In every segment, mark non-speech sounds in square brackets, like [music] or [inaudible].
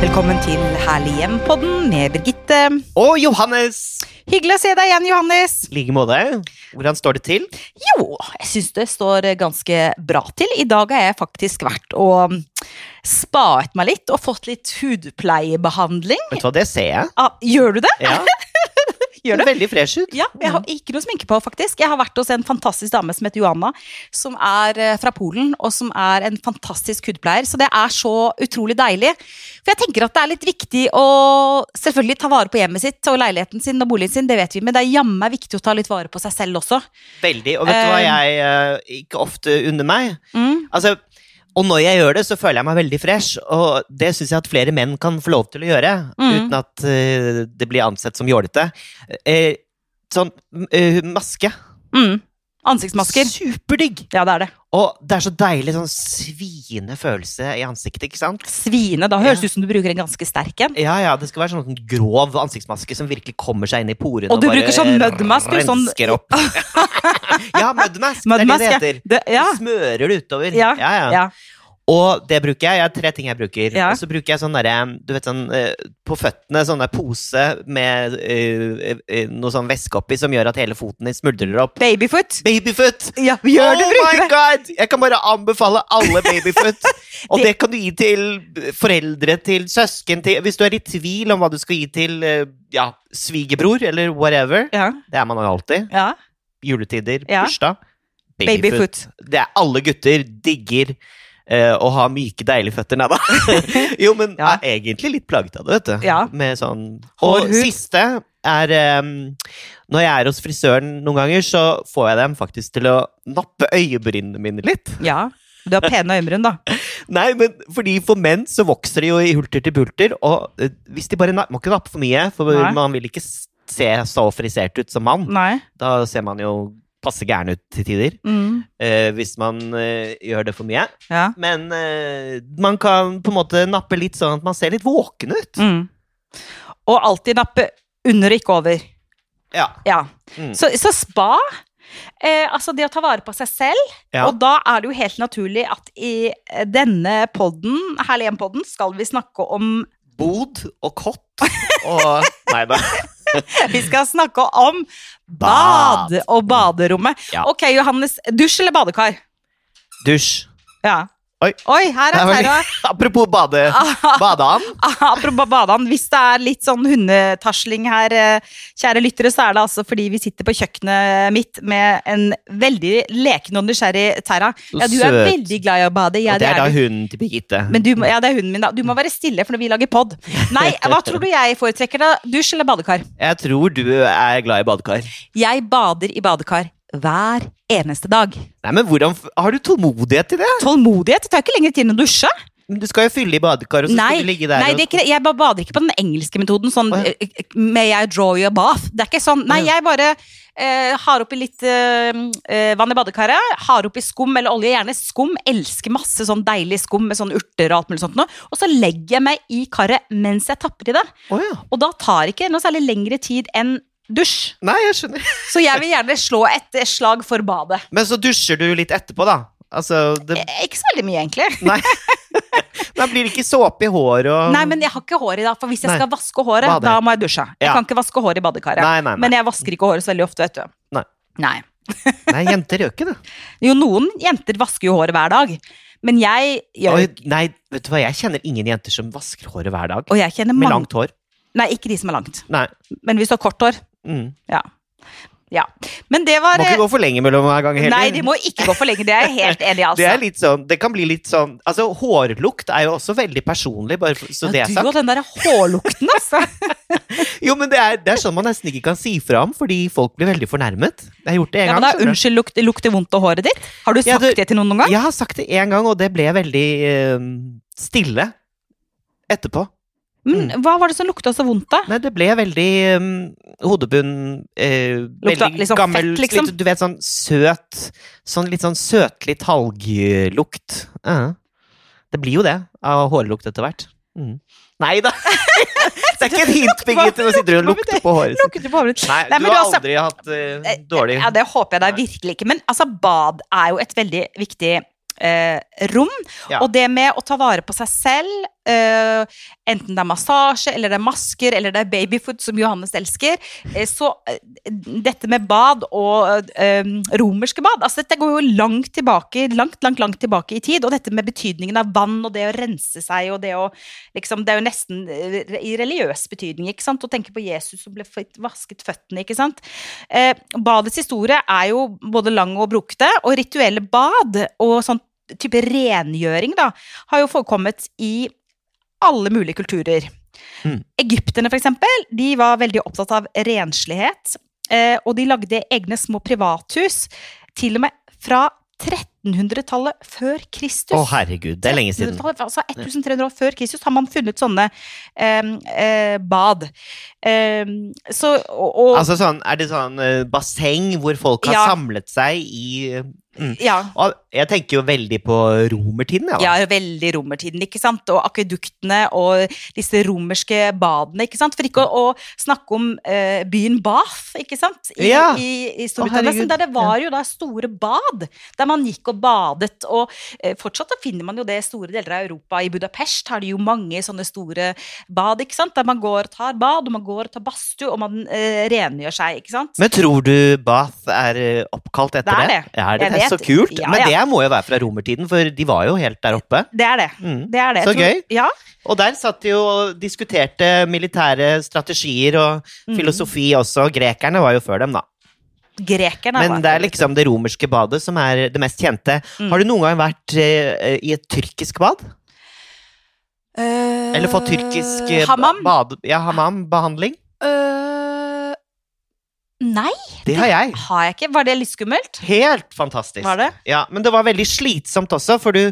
Velkommen til Herlig hjem-podden med Birgitte. Og Johannes! Hyggelig å se deg igjen, Johannes. I like måte. Hvordan står det til? Jo, jeg syns det står ganske bra til. I dag har jeg faktisk vært og spaet meg litt og fått litt hudpleiebehandling. Vet du hva, det ser jeg. Ah, gjør du det? Ja, Gjør du du? Veldig fresh ut. Ja, jeg har ikke noe sminke på, faktisk. Jeg har vært hos en fantastisk dame som heter Johanna, som er eh, fra Polen, og som er en fantastisk hudpleier. Så det er så utrolig deilig. For jeg tenker at det er litt viktig å selvfølgelig ta vare på hjemmet sitt og leiligheten sin og boligen sin, det vet vi, men det er jammen meg viktig å ta litt vare på seg selv også. Veldig. Og vet du hva jeg eh, ikke ofte unner meg? Mm. Altså, og når jeg gjør det, så føler jeg meg veldig fresh, og det syns jeg at flere menn kan få lov til å gjøre, uten at eh, det blir ansett som jålete. Eh, sånn eh, maske. Mm. Ansiktsmasker. Superdigg! Ja, det er det. Og det er så deilig sånn sviende følelse i ansiktet, ikke sant? Svine. Da høres det ut som du bruker en ganske sterk en. Ja, ja, det skal være sånn grov ansiktsmaske som virkelig kommer seg inn i porene. Og du bare bruker sånn mudmask, du, sånn- [laughs] rensker opp. ja, mudmask, Mudmask, det ja. er det det heter. Det, ja. Du Smører det utover. Ja, ja, ja. ja. Og det bruker jeg. Jeg har tre ting jeg bruker. Ja. Og så bruker jeg sånn derre Du vet sånn eh, på føttene, sånn der pose med eh, eh, noe sånn væske oppi som gjør at hele foten din smuldrer opp. Babyfoot. Babyfoot! Ja, gjør det, oh bruker my det. god! Jeg kan bare anbefale [laughs] alle babyfoot. Og Det- det kan du gi til foreldre, til søsken, til Hvis du er i tvil om hva du skal gi til eh, ja, svigerbror eller whatever. Ja, Det er man jo alltid. ja. Juletider, Ja. bursdag. Babyfoot. Babyfoot. Det er alle gutter digger eh, å ha myke, deilige føtter. Nei da. [laughs] jo, men Ja. er egentlig litt plaget av det, vet du. Ja. Med sånn Hår, Og hud. siste er eh, Når jeg er hos frisøren noen ganger, så får jeg dem faktisk til å nappe øyebrynene mine litt. Ja. Du har pene øyenbryn, da. Nei, men fordi for menn så vokser de jo i hulter til bulter, og eh, hvis de bare na- Må ikke nappe for mye, for Nei. man vil ikke s- se så frisert ut som mann. Nei. Da ser man jo passe gæren ut til tider. Mm. eh, hvis man eh, gjør det for mye. Ja. Men eh, man kan på en måte nappe litt sånn at man ser litt våken ut. Mm. Og alltid nappe under og ikke over. Ja. Ja. Mm. Så, så spa eh, Altså det å ta vare på seg selv. Ja. Og da er det jo helt naturlig at i eh, denne podden, Herlig hjem-podden, skal vi snakke om [laughs] Bod og kott [laughs] og Nei da. Vi skal snakke om bad Bad. og baderommet. Ja. Ok, Johannes. Dusj eller badekar? Dusj. Ja. Oi. her Det er er veldig- Terra. [laughs] Apropos bade... [laughs] Badeand. Apropos badeand. Hvis det er litt sånn hundetasling her, eh, kjære lyttere, så er det altså fordi vi sitter på kjøkkenet mitt med en veldig leken og nysgjerrig Terra. Ja, du er søt. veldig glad i å bade. Ja, og det er da du. hunden til Birgitte. Men du, må- ja, det er hunden min, da. Du må være stille, for når vi lager pod. Nei, [laughs] hva tror du jeg foretrekker, da? Dusj eller badekar? Jeg tror du er glad i badekar. Jeg bader i badekar hver eneste dag. Nei, men hvordan f- Har du tålmodighet til det? Tålmodighet? Det tar ikke lengre tid enn å dusje. Men Du skal jo fylle i badekar, og så Nei, skal du ligge der nei og det er ikke, det. jeg bare bader ikke på den engelske metoden. Sånn Å, ja. eh, eh, May I draw you a bath? Det er ikke sånn. Nei, Å, ja. jeg bare eh, har oppi litt eh, eh, vann i badekaret. Har oppi skum eller olje. Gjerne skum. Elsker masse sånn deilig skum med sånn urter og alt mulig sånt noe. Og så legger jeg meg i karet mens jeg tapper i det. Å, ja. Og da tar ikke noe særlig lengre tid enn dusj. Nei, jeg skjønner. Så jeg vil gjerne slå et eh, slag for badet. Men så dusjer du litt etterpå, da. Altså, det, Eh, Ikke så veldig mye, egentlig. nei. da blir det ikke såpe i håret og Nei, men jeg har ikke hår i dag, for hvis jeg Nei. skal vaske håret, Bade. da må jeg dusje. Jeg Ja. kan ikke vaske hår i badekaret. Nei, nei, nei. Men jeg vasker ikke håret så veldig ofte, vet du. Nei. Nei, jenter gjør ikke det. Jo, noen jenter vasker jo håret hver dag, men jeg gjør Oi, nei, vet du hva, jeg kjenner ingen jenter som vasker håret hver dag. Og jeg kjenner Med mange langt hår. Nei, ikke de som er langt, Nei. men hvis du har kort hår. Mm. Ja. ja. Men det var eh, Må ikke gå for lenge mellom hver gang heller. Nei, de må ikke gå for lenge. Det er jeg helt enig i, altså. [laughs] det er litt sånn, det kan bli litt sånn Altså, hårlukt er jo også veldig personlig, bare for- så det ja, er du sagt. og den derre hårlukten, [laughs] altså. Jo, men det er, det er sånn man nesten ikke kan si fra om, fordi folk blir veldig fornærmet. Jeg har gjort det en Ja, men gang. da, skjønner du. unnskyld, lukter lukter vondt av håret ditt? Har du sagt Ja, du- det til noen noen gang? Jeg har sagt det én gang, og det ble veldig eh, stille etterpå. Mm. Men hva var det som lukta så vondt, [laughs] da? Nei, det ble veldig um, hodebunn eh, Lukta Veldig litt sånn gammel fett, liksom. litt, Du vet, sånn søt Sånn litt sånn søtlig talglukt. Ja. det blir jo det av hårlukt etter hvert. Mm. Nei da! [laughs] det er ikke et hint, Birgitte. Nå sitter du Hva og med lukter på håret sitt. Lukket du på håret ditt? Nei, Nei, men du har du, altså- aldri hatt eh, dårlig Ja, det håper jeg da virkelig ikke. Men altså, bad er jo et veldig viktig eh, rom. Ja. Og det med å ta vare på seg selv, eh, enten det er massasje, eller det er masker, eller det er babyfood, som Johannes elsker, eh, så eh, dette med bad og eh, romerske bad altså Dette går jo langt tilbake, langt, langt, langt tilbake i tid. Og dette med betydningen av vann og det å rense seg og det å liksom, Det er jo nesten eh, i religiøs betydning, ikke sant? Å tenke på Jesus som ble født- vasket føttene, ikke sant? Eh, badets historie er jo både lang og brokete, og rituelle bad og sånn type rengjøring da, har jo forekommet i alle mulige kulturer. Mm. Egypterne for eksempel, de var veldig opptatt av renslighet, eh, og de lagde egne små privathus, til og med fra 1300-tallet før Kristus. Å, herregud, det er lenge siden. 1300-tallet, Altså 1300 år før Kristus har man funnet sånne eh, eh, bad. Eh, så, og, og, Altså sånn, Er det sånn eh, basseng hvor folk har Ja. samlet seg i mm. ja. og Jeg tenker jo veldig på romertiden, jeg. da. Ja, veldig romertiden, ikke sant? Og akveduktene og disse romerske badene, ikke sant? For ikke å, å snakke om eh, byen Bath, ikke sant? I, Ja. i, i Å, Storbritannia, herregud. som der det var jo da store bad, der man gikk og badet. Og eh, fortsatt da finner man jo det i store deler av Europa. I Budapest har de jo mange sånne store bad, ikke sant? Der man går og tar bad, og man går og tar badstue, og man eh, rengjør seg, ikke sant? Men tror du Bath er eh, oppkalt etter Det er det? det. Ja, er det, Jeg det er så vet. kult. Ja, Men ja. det må jo være fra romertiden, for de var jo helt der oppe. Det er det. Mm. Det er det. Så Jeg tror- gøy. Ja. Og der satt de jo og diskuterte militære strategier og Mm. filosofi også. Grekerne var jo før dem, da. Grekerne Men det er liksom det romerske badet som er det mest kjente. Mm. Har du noen gang vært eh, i et tyrkisk bad? Eller fått tyrkisk eh, Hammam? Bad, ja, hammam-behandling? Øh, Nei, Det har jeg. har jeg ikke. Var det litt skummelt? Helt fantastisk. Var det? Ja, men det var veldig slitsomt også, for du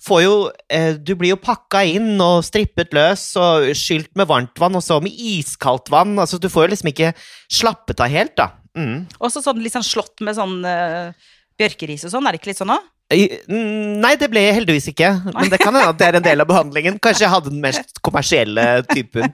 får jo eh, Du blir jo pakka inn og strippet løs og skylt med varmt vann, og så med iskaldt vann. Altså, du får jo liksom ikke slappet av helt, da. Mm. Også sånn litt sånn slått med sånn øh, bjørkeris og sånn, er det ikke litt sånn òg? I- mm, Nei, det ble jeg heldigvis ikke. Men det kan hende at det er en del av behandlingen. Kanskje jeg hadde den mest kommersielle typen.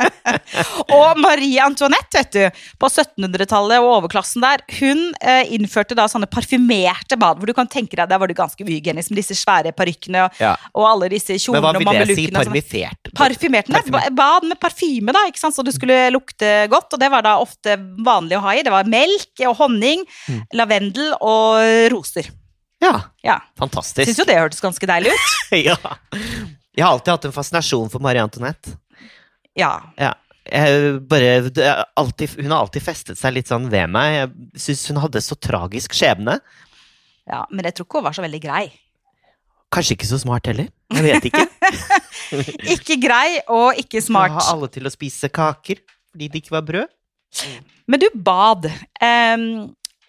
Og Marie Antoinette, vet du, på 1700-tallet og overklassen der, hun eh, innførte da sånne parfymerte bad, hvor du kan tenke deg, der var det ganske uhygienisk med disse svære parykkene og, Ja. og alle disse Men hva kjolene og vil det si? mamelukkene. og sånn. Parmifert? Parfymert. Nei, Parfymert. ba- bad med parfyme, da, ikke sant? så du skulle lukte godt. Og det var da ofte vanlig å ha i. Det var melk og honning, Mm. lavendel og roser. Ja. Ja. Fantastisk. Syns jo det hørtes ganske deilig [laughs] ut. [laughs] ja. Jeg har alltid hatt en fascinasjon for Marie Antoinette. Ja. Ja. Jeg bare, det er alltid, hun har alltid festet seg litt sånn ved meg. Jeg syns hun hadde så tragisk skjebne. ja. Men jeg tror ikke hun var så veldig grei. Kanskje ikke så smart heller. Jeg vet [laughs] ikke. [laughs] Ikke grei og ikke Smart. smart. alle til å spise kaker fordi det ikke var brød. Men du, bad. Em,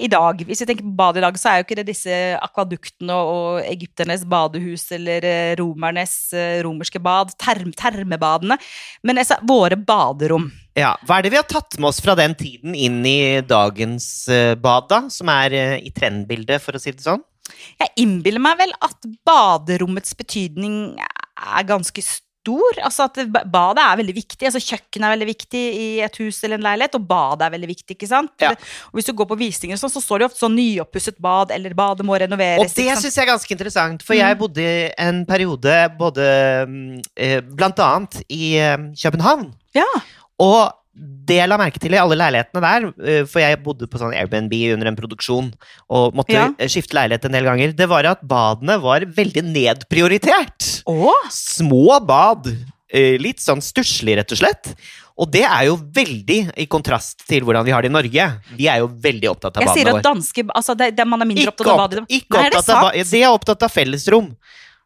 I dag, hvis vi tenker på bad i dag, så er jo ikke det disse akvaduktene og, og egypternes badehus eller eh, romernes eh, romerske bad, term, termebadene, men altså, våre baderom. Ja, Hva er det vi har tatt med oss fra den tiden inn i dagens eh, bad, da? Som er eh, i trendbildet, for å si det sånn? Jeg innbiller meg vel at baderommets betydning er ganske stor. Altså at ba- badet er veldig viktig. Altså kjøkkenet er veldig viktig i et hus eller en leilighet, og badet er veldig viktig, ikke sant? Ja. Og hvis du går på visninger og sånn, så står det jo ofte sånn nyoppusset bad, eller badet må renoveres. Og det sånn- Mm. ikke sant? syns jeg er ganske interessant, for jeg bodde en periode både mm, eh, Blant annet i eh, København. Ja. Og det jeg la merke til i alle leilighetene der, eh, for jeg bodde på sånn Airbnb under en produksjon og måtte Ja. eh, skifte leilighet en del ganger, det var at badene var veldig nedprioritert. Å, Små bad. eh, Litt sånn stusslig, rett og slett. Og det er jo veldig i kontrast til hvordan vi har det i Norge. Vi er jo veldig opptatt av jeg sier badene at våre. danske Altså, det, det man er mindre Ikke, opptatt av opp, badet. ikke Nei, er det opptatt av sant? ba- ja, De er opptatt av fellesrom.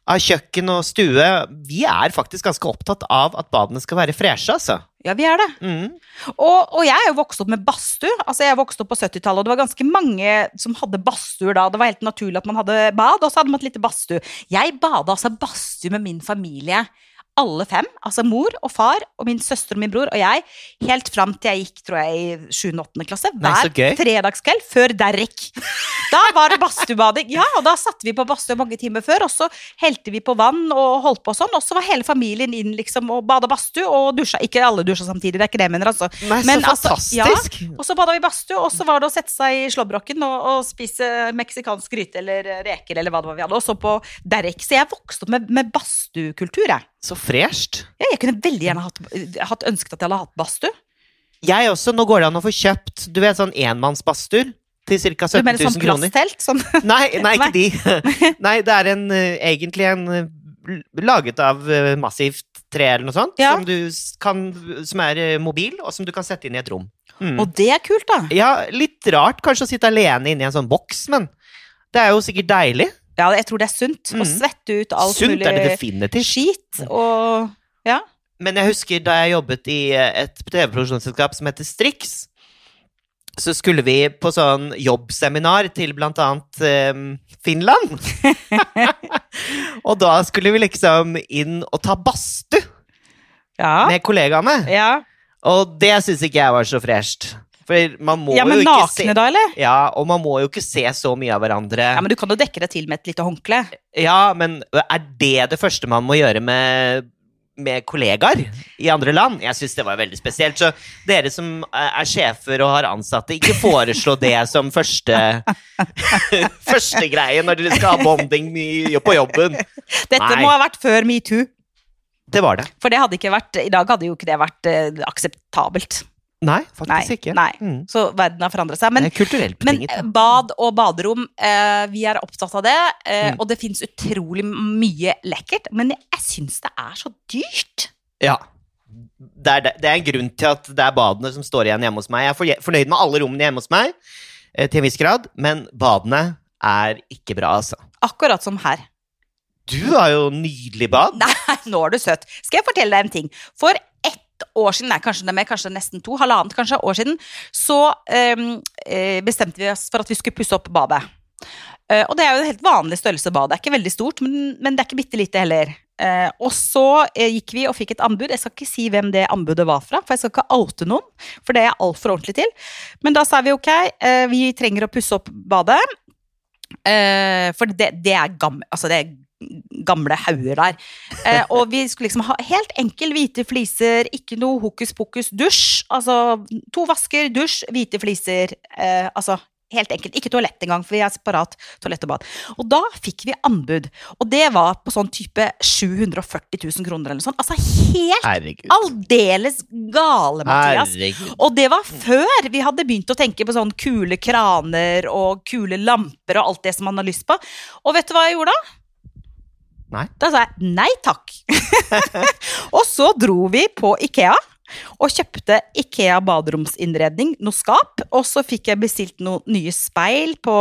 Av kjøkken og stue. Vi er faktisk ganske opptatt av at badene skal være freshe, altså. Ja, vi er det. Mm. Og, og jeg er jo vokst opp med badstue. Altså, jeg vokste opp på 70-tallet, og det var ganske mange som hadde badstuer da. Det var helt naturlig at man hadde bad, og så hadde man et lite badstue. Jeg bada altså badstue med min familie, alle fem. Altså mor og far og min søster og min bror og jeg, helt fram til jeg gikk, tror jeg, i 7. og 8. klasse. Nei, så Hver gøy. fredagskveld før Derrick. Da var det badstuebading. Ja, og da satte vi på badstue mange timer før, og så helte vi på vann og holdt på sånn, og så var hele familien inn liksom og bada badstue og dusja. Ikke alle dusja samtidig, det er ikke det jeg mener, altså. Nei, så Men altså, fantastisk! Og så bada vi badstue, og så var det å sette seg i slåbroken og, og spise meksikansk gryte eller reker eller hva det var vi hadde, og så på Derrick. Så jeg vokste opp med, med badstuekultur, jeg. Så fresht. Ja, jeg kunne veldig gjerne hatt, hatt ønsket at jeg hadde hatt badstue. Jeg også. Nå går det an å få kjøpt du vet, sånn enmannsbadstuer til ca. Du 17 mener 000 sånn kroner. plasttelt? Sånn. Nei, nei, ikke [laughs] de. [laughs] Nei, det er en, eh, egentlig en eh, l- laget av eh, massivt tre eller noe sånt, Ja. som, du s- kan, som er eh, mobil, og som du kan sette inn i et rom. Mm. Og det er kult, da. Ja, litt rart kanskje å sitte alene inne i en sånn boks, men det er jo sikkert deilig. Ja, jeg tror det er sunt å Mm. svette ut alt Sunt er det mulig definitivt. skit. Og Men jeg husker da jeg jobbet i eh, et TV-produksjonsselskap som heter Strix, så skulle vi på sånn jobbseminar til blant annet eh, [laughs] Finland. og da skulle vi liksom inn og ta badstue ja. med kollegaene. ja. Og det syns ikke jeg var så fresht. For man må ja men jo ikke se nakne, da, eller? Ja, og man må jo ikke se så mye av hverandre. Ja, men Du kan jo dekke deg til med et lite håndkle. Ja, men er det det første man må gjøre med, med kollegaer i andre land? Jeg syns det var veldig spesielt. Så dere som er sjefer og har ansatte, ikke foreslå det som første, [laughs] første greie når dere skal ha bonding i- på jobben. Dette Nei. må ha vært før metoo, Det var det. for det hadde ikke vært, i dag hadde jo ikke det vært eh, akseptabelt. Nei, Nei, faktisk ikke. nei. Mm. Så verden har forandret seg. Men, det er kulturelt men eh, betinget. da. bad og baderom, eh, vi er opptatt av det. Eh, Mm. Og det fins utrolig mye lekkert, men jeg syns det er så dyrt. ja. Det er, det- det er en grunn til at det er badene som står igjen hjemme hos meg. Jeg er forje- fornøyd med alle rommene hjemme hos meg, eh, til en viss grad, men badene er ikke bra, altså. Akkurat som her. Du har jo nydelig bad. Nei, [laughs] nå er du søt. Skal jeg fortelle deg en ting? For ett år siden, nei, kanskje det er mer, kanskje nesten to, halvannet kanskje, år siden, så ehm, eh, bestemte vi oss for at vi skulle pusse opp badet. Eh, og det er jo en helt vanlig størrelse bad. Det er ikke veldig stort, men, men det er ikke bitte lite heller. Eh, og så eh, gikk vi og fikk et anbud. Jeg skal ikke si hvem det anbudet var fra, for jeg skal ikke oute noen, for det er jeg altfor ordentlig til. Men da sa vi ok, eh, vi trenger å pusse opp badet. Eh, for det, det, er gam, altså det er gamle hauger der. Eh, og vi skulle liksom ha helt enkel hvite fliser, ikke noe hokus pokus dusj. Altså to vasker, dusj, hvite fliser. Eh, altså helt enkelt. Ikke toalett engang, for vi har separat toalett og bad. Og da fikk vi anbud, og det var på sånn type 740 000 kroner eller noe sånt. Altså helt Herregud. aldeles gale, Mathias. Herregud. Og det var før vi hadde begynt å tenke på sånn kule kraner og kule lamper og alt det som man har lyst på. Og vet du hva jeg gjorde da? Nei. Da sa jeg nei takk. [laughs] og så dro vi på Ikea. Og kjøpte Ikea baderomsinnredning, noe skap. Og så fikk jeg bestilt noen nye speil på,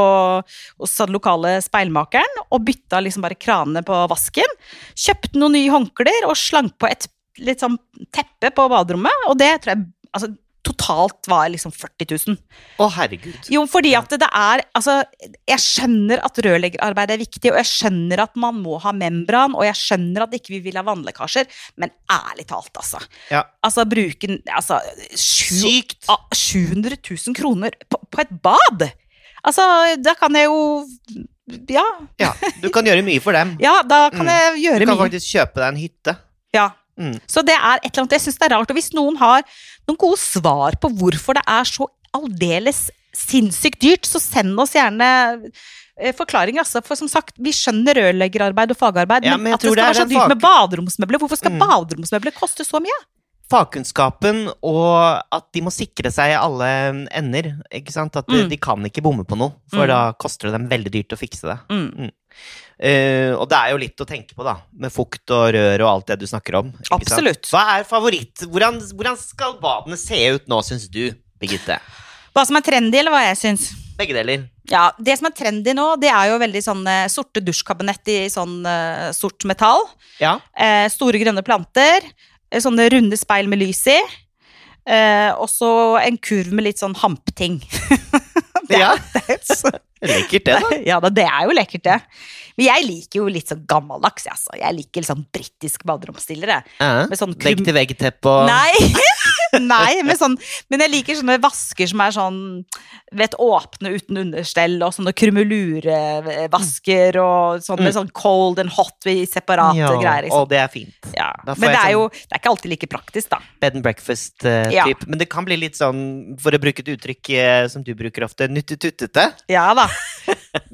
hos den lokale speilmakeren. Og bytta liksom bare kranene på vasken. Kjøpte noen nye håndklær og slang på et litt sånn teppe på baderommet. Og det tror jeg altså, totalt var liksom 40 000. Å, herregud. Jo, fordi at det er Altså, jeg skjønner at rørleggerarbeid er viktig, og jeg skjønner at man må ha membran, og jeg skjønner at ikke vi vil ha vannlekkasjer, men ærlig talt, altså. Ja. Altså, bruke altså, sju, Sykt. ah, 700 000 kroner på, på et bad! Altså, da kan jeg jo Ja, Ja, du kan gjøre mye for dem. ja da kan Mm. jeg Du gjøre kan mye. faktisk kjøpe deg en hytte. Ja. Mm. Så det er et eller annet Jeg syns det er rart. Og hvis noen har noen gode svar på hvorfor det er så aldeles sinnssykt dyrt, så send oss gjerne eh, forklaringer. Altså. For som sagt, vi skjønner rørleggerarbeid og fagarbeid, Ja, men, men jeg at det tror skal det være er så den dyrt med fag- baderomsmøbler Hvorfor skal Mm. baderomsmøbler koste så mye? Fagkunnskapen og at de må sikre seg i alle ender. ikke sant? At de, Mm. de kan ikke bomme på noe, for Mm. da koster det dem veldig dyrt å fikse det. Mm. Eh, og det er jo litt å tenke på, da. Med fukt og rør og alt det du snakker om. ikke sant? Absolutt. Hva er favoritt? Hvordan, hvordan skal badene se ut nå, syns du, Birgitte? Hva som er trendy, eller hva jeg syns? Begge deler. Ja, Det som er trendy nå, det er jo veldig sånn eh, sorte dusjkabinett i sånn eh, sort metall. Ja. Eh, store grønne planter. eh, Sånne runde speil med lys i. Eh, og så en kurv med litt sånn hampting. [laughs] Det er- ja. så- [laughs] Lekkert, det, da. ja da, det er jo lekkert, det. Men jeg liker jo litt sånn gammeldags. jeg, Altså. Jeg liker litt sånn britisk baderomsstiller. jeg. Ja. Med sånn krum... Vegg-til-vegg-teppe og Nei! [laughs] Nei, men, sånn, men jeg liker sånne vasker som er sånn vet, åpne uten understell, og sånne krummelurevasker, og sånn med sånn cold and hot i separate Ja, greier. Liksom. Og det er fint. Ja. da får Men jeg det er sånn- jo det er ikke alltid like praktisk, da. Bed and breakfast-type. Ja. eh, Men det kan bli litt sånn, for å bruke et uttrykk eh, som du bruker ofte, nyttetuttete. Ja da.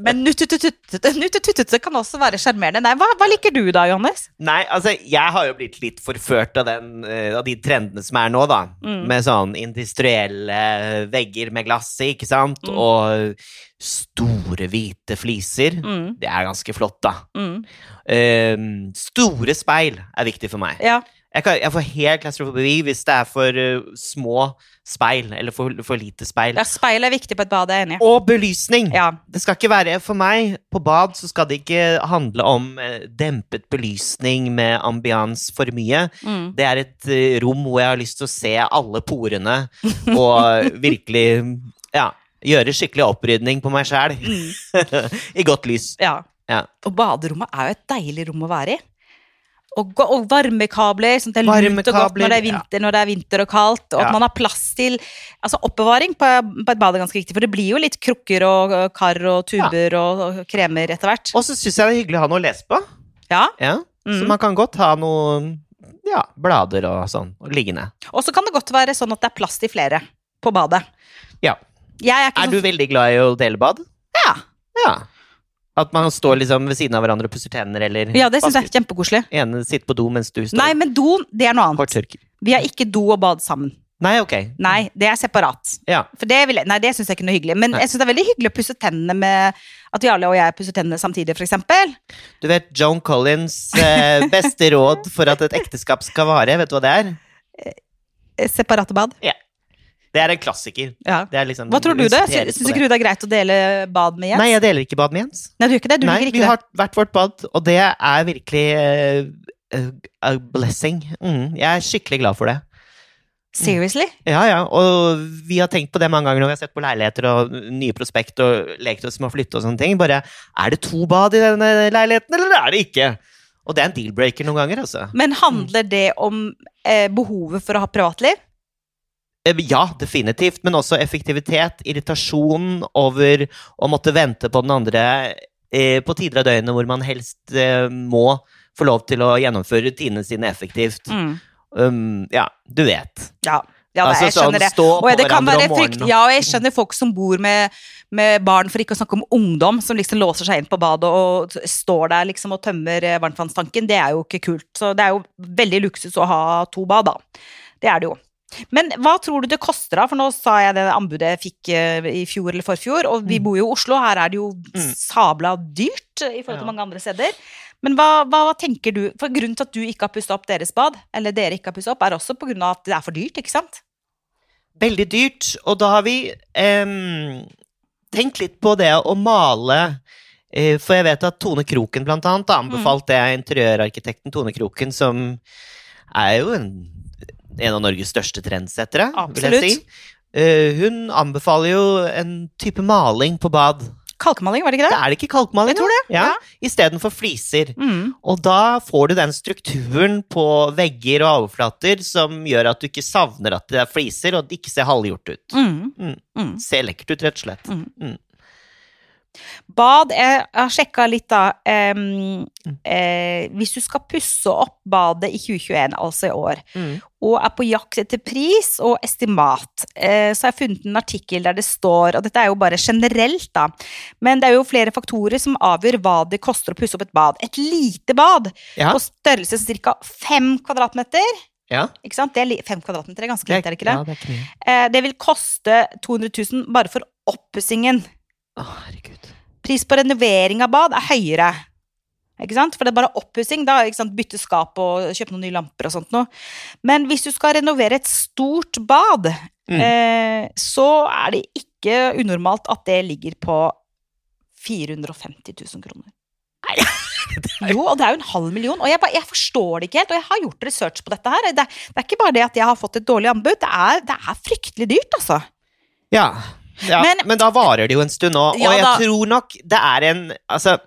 Men nuttetuttete kan også være sjarmerende. Nei, hva, hva liker du da, Johannes? Nei, altså, jeg har jo blitt litt forført av, den, eh, av de trendene som er nå, da. Mm. Med sånn industrielle vegger med glass i, ikke sant? Mm. Og store, hvite fliser. Mm, Det er ganske flott, da. mm. Eh, store speil er viktig for meg. Ja. Jeg, kan, jeg får helt klaustrofobi hvis det er for eh, små speil, eller for, for lite speil. ja, speil er viktig på et bad, jeg er enig. Og belysning! Ja. Det skal ikke være for meg. På bad så skal det ikke handle om eh, dempet belysning med ambians for mye. Mm. Det er et eh, rom hvor jeg har lyst til å se alle porene [laughs] og virkelig ja, gjøre skikkelig opprydning på meg sjæl. Mm. [laughs] I godt lys. ja. Ja. Og baderommet er jo et deilig rom å være i. Og, gå- og varmekabler, sånn at det er lunt og godt Varmekabler, når det er vinter, når det er vinter og kaldt. Og Ja. at man har plass til altså oppbevaring på, på et bad er ganske viktig, for det blir jo litt krukker og og kar og tuber og, og kremer etter hvert. Og så syns jeg det er hyggelig å ha noe å lese på. Ja. Ja. Så Mm. man kan godt ha noen ja, blader og sånn og liggende. Og så kan det godt være sånn at det er plass til flere på badet. Ja. Jeg er ikke Er du sånn veldig glad i å dele bad? Ja. ja. At man står liksom ved siden av hverandre og pusser tenner, eller ja, det syns jeg vasker- er kjempekoselig. ene sitter på do mens du står Nei, men doen, det er noe annet. korttørker. Vi har ikke do og bad sammen. Nei, ok. Nei, det er separat. Ja. For det, vil jeg- nei, det syns jeg ikke er noe hyggelig. Men Nei. jeg syns det er veldig hyggelig å pusse tennene med at Jarle og jeg pusser tennene samtidig, for eksempel. Du vet Joan Collins' [laughs] eh, beste råd for at et ekteskap skal vare, vet du hva det er? Eh, Separate bad. Det er en klassiker. Ja. Det er liksom, Hva tror du det? siteres på Syns ikke du det er greit å dele bad med Jens? Nei, jeg deler ikke bad med Jens. Nei, du gjør ikke det? Du Nei, liker vi ikke det? har hvert vårt bad, og det er virkelig eh, eh, a blessing. Mm, jeg er skikkelig glad for det. Seriously? Ja, ja, og vi har tenkt på det mange ganger når vi har sett på leiligheter og nye prospekt og lekt oss med å flytte og sånne ting. Bare, er det to bad i denne leiligheten, eller er det ikke? Og det er en deal-breaker noen ganger, altså. Men handler det om eh, behovet for å ha privatliv? Eh, Ja, definitivt, men også effektivitet, irritasjon over å måtte vente på den andre eh, på tider av døgnet hvor man helst eh, må få lov til å gjennomføre rutinene sine effektivt. Mm. Um, ja, du vet. Ja. ja det, Altså, jeg skjønner sånn, det. stå Og på det kan hverandre være om frykt, morgenen. ja, og jeg skjønner folk som bor med, med barn, for ikke å snakke om ungdom, som liksom låser seg inn på badet og t- står der liksom og tømmer eh, varmtvannstanken. Det er jo ikke kult. Så det er jo veldig luksus å ha to bad, da. Det er det jo. Men hva tror du det koster, da? For nå sa jeg det anbudet jeg fikk eh, i fjor eller forfjor, og vi Mm. bor jo i Oslo. Her er det jo Mm. sabla dyrt eh, i forhold til Ja. mange andre steder. Men hva, hva, hva tenker du? For Grunnen til at du ikke har pussa opp deres bad, eller dere ikke har pusset opp, er også pga. at det er for dyrt, ikke sant? Veldig dyrt, og da har vi em, tenkt litt på det å male eh, For jeg vet at Tone Kroken blant annet har anbefalt det, interiørarkitekten Tone Kroken, som er jo en, en av Norges største trendsettere, vil jeg Absolutt. si. Eh, hun anbefaler jo en type maling på bad. Kalkmaling, var det ikke Det det? er det ikke kalkmaling, Jeg tror da? Ja, ja. Istedenfor fliser. Mm. Og da får du den strukturen på vegger og overflater som gjør at du ikke savner at det er fliser, og at det ikke ser halvgjort ut. Mm. Mm. Mm. Ser lekkert ut, rett og slett. Bad, jeg har sjekka litt da. em, eh, hvis du skal pusse opp badet i 2021, altså i år, og er på jakt etter pris og estimat, eh, så har jeg funnet en artikkel der det står, og dette er jo bare generelt da, men det er jo flere faktorer som avgjør hva det koster å pusse opp et bad. Et lite bad Ja. på størrelse som ca. fem kvadratmeter, Ja. ikke sant? Det er li- fem kvadratmeter er ganske lite, er det ikke det? Ja, det er ikke mye. Eh, det vil koste 200 000 bare for oppussingen. Å, herregud. Pris på renovering av bad er høyere. Ikke sant? For det er bare oppussing. da, ikke sant? Bytte skap og kjøpe noen nye lamper og sånt noe. Men hvis du skal renovere et stort bad, Mm. eh, så er det ikke unormalt at det ligger på 450 000 kroner. Jo, og [laughs] det er jo en halv million. Og jeg, bare, jeg forstår det ikke helt. Og jeg har gjort research på dette her. Det, det er ikke bare det at jeg har fått et dårlig anbud. Det er, det er fryktelig dyrt, altså. Ja. ja. Men, Men- da varer det jo en stund nå, og Ja, jeg da- tror nok det er en Altså,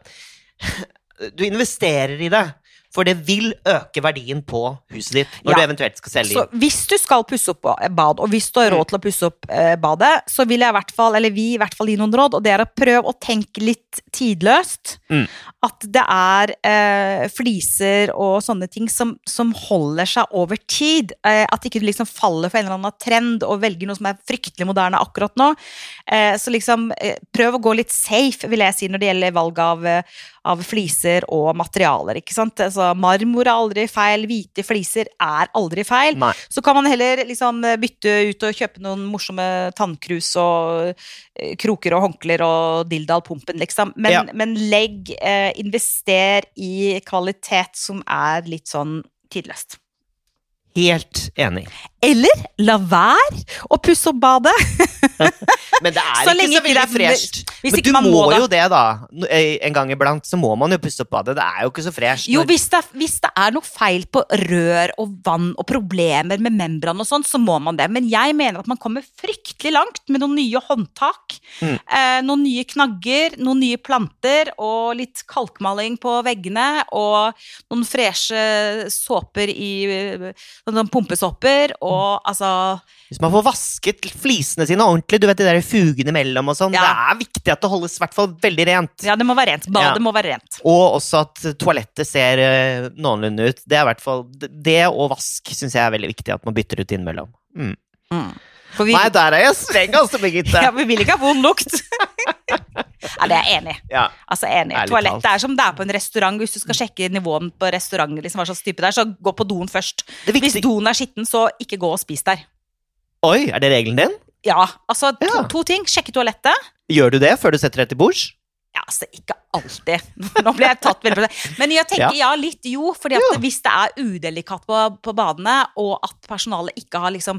du investerer i det. For det vil øke verdien på huset ditt når Ja. du eventuelt skal selge Så inn. hvis du skal pusse opp eh, bad, og hvis du har råd til å pusse opp eh, badet, så vil jeg i hvert fall, eller vi i hvert fall gi noen råd, og det er å prøve å tenke litt tidløst. Mm. At det er eh, fliser og sånne ting som, som holder seg over tid. Eh, at ikke du liksom faller for en eller annen trend og velger noe som er fryktelig moderne akkurat nå. Eh, så liksom eh, prøv å gå litt safe, vil jeg si, når det gjelder valg av eh, av fliser og materialer. ikke sant? Altså, marmor er aldri feil, hvite fliser er aldri feil. Nei. Så kan man heller liksom bytte ut og kjøpe noen morsomme tannkrus og eh, kroker og håndklær og dildalpumpen, liksom. Men, Ja. men legg, eh, invester i kvalitet som er litt sånn tidløst. Helt enig. Eller la være å pusse opp badet. Men det er Så ikke lenge så ikke det veldig er- fresht. hvis Men ikke du man må må det. jo det, da. N- eh, En gang iblant så må man jo pusse opp badet. Det er jo ikke så fresht. Jo, når- hvis det, er- hvis det er noe feil på rør og vann og problemer med membran og sånn, så må man det. Men jeg mener at man kommer fryktelig langt med noen nye håndtak, Mm. eh, noen nye knagger, noen nye planter og litt kalkmaling på veggene og noen freshe såper i eh, Sånne pumpesåper og altså Hvis man får vasket flisene sine ordentlig, du vet de der fugene mellom og sånn, Ja. det er viktig at det holdes i hvert fall veldig rent. Ja, det må være rent. Badet Ja. må være rent. Og også at toalettet ser eh, noenlunde ut. Det er i hvert fall d- det og vask syns jeg er veldig viktig at man bytter ut innimellom. Mm. For vi, Nei, der er jeg streng, altså, Birgitte! [laughs] ja, vi vil ikke ha vond lukt. [laughs] ja, det er jeg enig i. Ja. Altså enig, Ærlig toalett talt. det er som det er på en restaurant Hvis du skal sjekke nivåen på restauranten liksom, hva slags type det er, Så gå på doen først Det Hvis viktige doen er skitten, så ikke gå og spis der Oi, er det regelen din? Ja, altså to, Ja. to ting Sjekke toalettet Gjør du det før du setter deg til bords? Ja, altså ikke alltid [laughs] Nå ble jeg tatt veldig på det Men jeg tenker ja, litt jo Fordi at Ja. hvis det er udelikat på, på badene Og at personalet ikke har liksom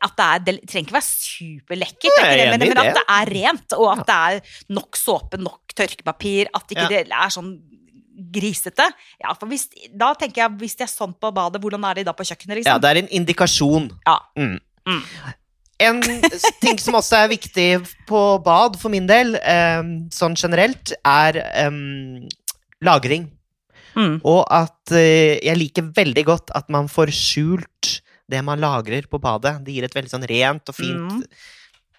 At det er, det trenger ikke være superlekkert det er ikke Nei, jeg det, er men, enig i men at det. det er rent Og at det er nok såpe, nok tørkepapir At ikke Ja. det er sånn grisete. Ja, for hvis, da tenker jeg, hvis de er sånn på badet, hvordan er de da på kjøkkenet, Ja, liksom? det er en indikasjon. Ja. Mm. Mm. En s- ting som også er viktig på bad, for min del, eh, sånn generelt, er eh, lagring. Mm. Og at eh, jeg liker veldig godt at man får skjult det man lagrer på badet. Det gir et veldig sånn rent og fint Mm.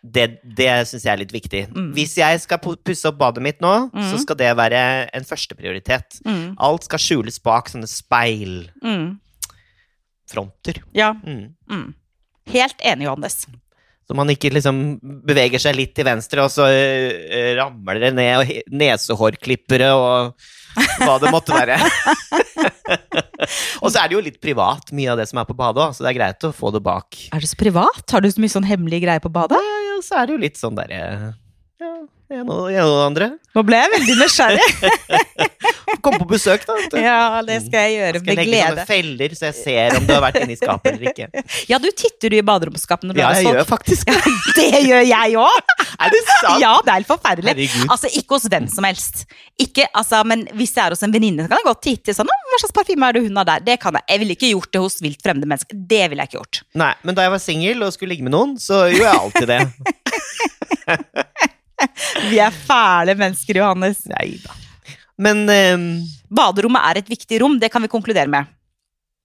Det, det syns jeg er litt viktig. Mm. Hvis jeg skal pu- pusse opp badet mitt nå, så Mm. skal det være en førsteprioritet. Mm, Alt skal skjules bak sånne speilfronter. mm, ja. Mm. Mm. Helt enig, Johannes. Så man ikke liksom beveger seg litt til venstre, og så eh, ramler det ned og he- nesehårklippere og hva det måtte være. [laughs] og så er det jo litt privat, mye av det som er på badet òg, så det er greit å få det bak. Er det så privat? Har du så mye sånn hemmelige greier på badet? Ja, og så er det jo litt sånn derre ja, en og, en og det andre. Nå ble jeg veldig nysgjerrig. Kom på besøk, da. vet du. [laughs] ja, det skal jeg gjøre Skal jeg med legge sånne glede. feller, så jeg ser om du har vært inne i skapet eller ikke. [laughs] Ja, du titter du i baderomsskapene når du Ja, er sånn. jeg gjør solgt. faktisk [laughs] det. Det gjør jeg [laughs] òg! Er det sant? Ja, det er helt forferdelig. Herregud. Altså, ikke hos hvem som helst. Ikke, altså, men hvis jeg er hos en venninne, så kan jeg godt titte sånn «Å, Hva slags parfyme er det hun har der? Det kan jeg. Jeg ville ikke gjort det hos vilt fremmede mennesker. Det ville jeg ikke gjort. Nei, men da jeg var singel og skulle ligge med noen, så gjorde jeg alltid det. Vi er fæle mennesker, Johannes. Nei da. Men ehm, Baderommet er et viktig rom, det kan vi konkludere med.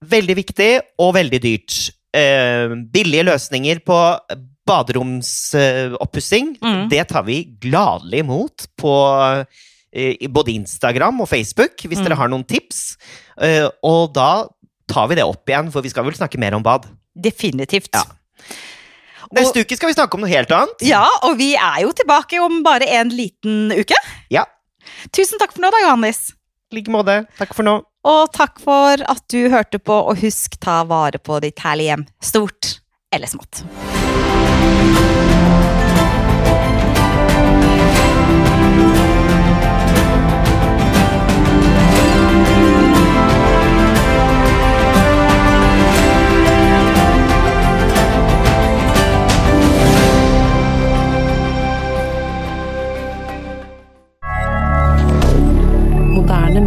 veldig viktig og veldig dyrt. Ehm, billige løsninger på baderomsoppussing, Mm. det tar vi gladelig imot på eh, i både Instagram og Facebook, hvis Mm. dere har noen tips. Eh, og da tar vi det opp igjen, for vi skal vel snakke mer om bad. Definitivt. Ja. Neste uke skal vi snakke om noe helt annet. Ja, og vi er jo tilbake om bare en liten uke. Ja. Tusen takk for nå, da, Johannes. I like måte. Takk for nå. Og takk for at du hørte på, og husk ta vare på ditt herlige hjem, stort eller smått. Moderne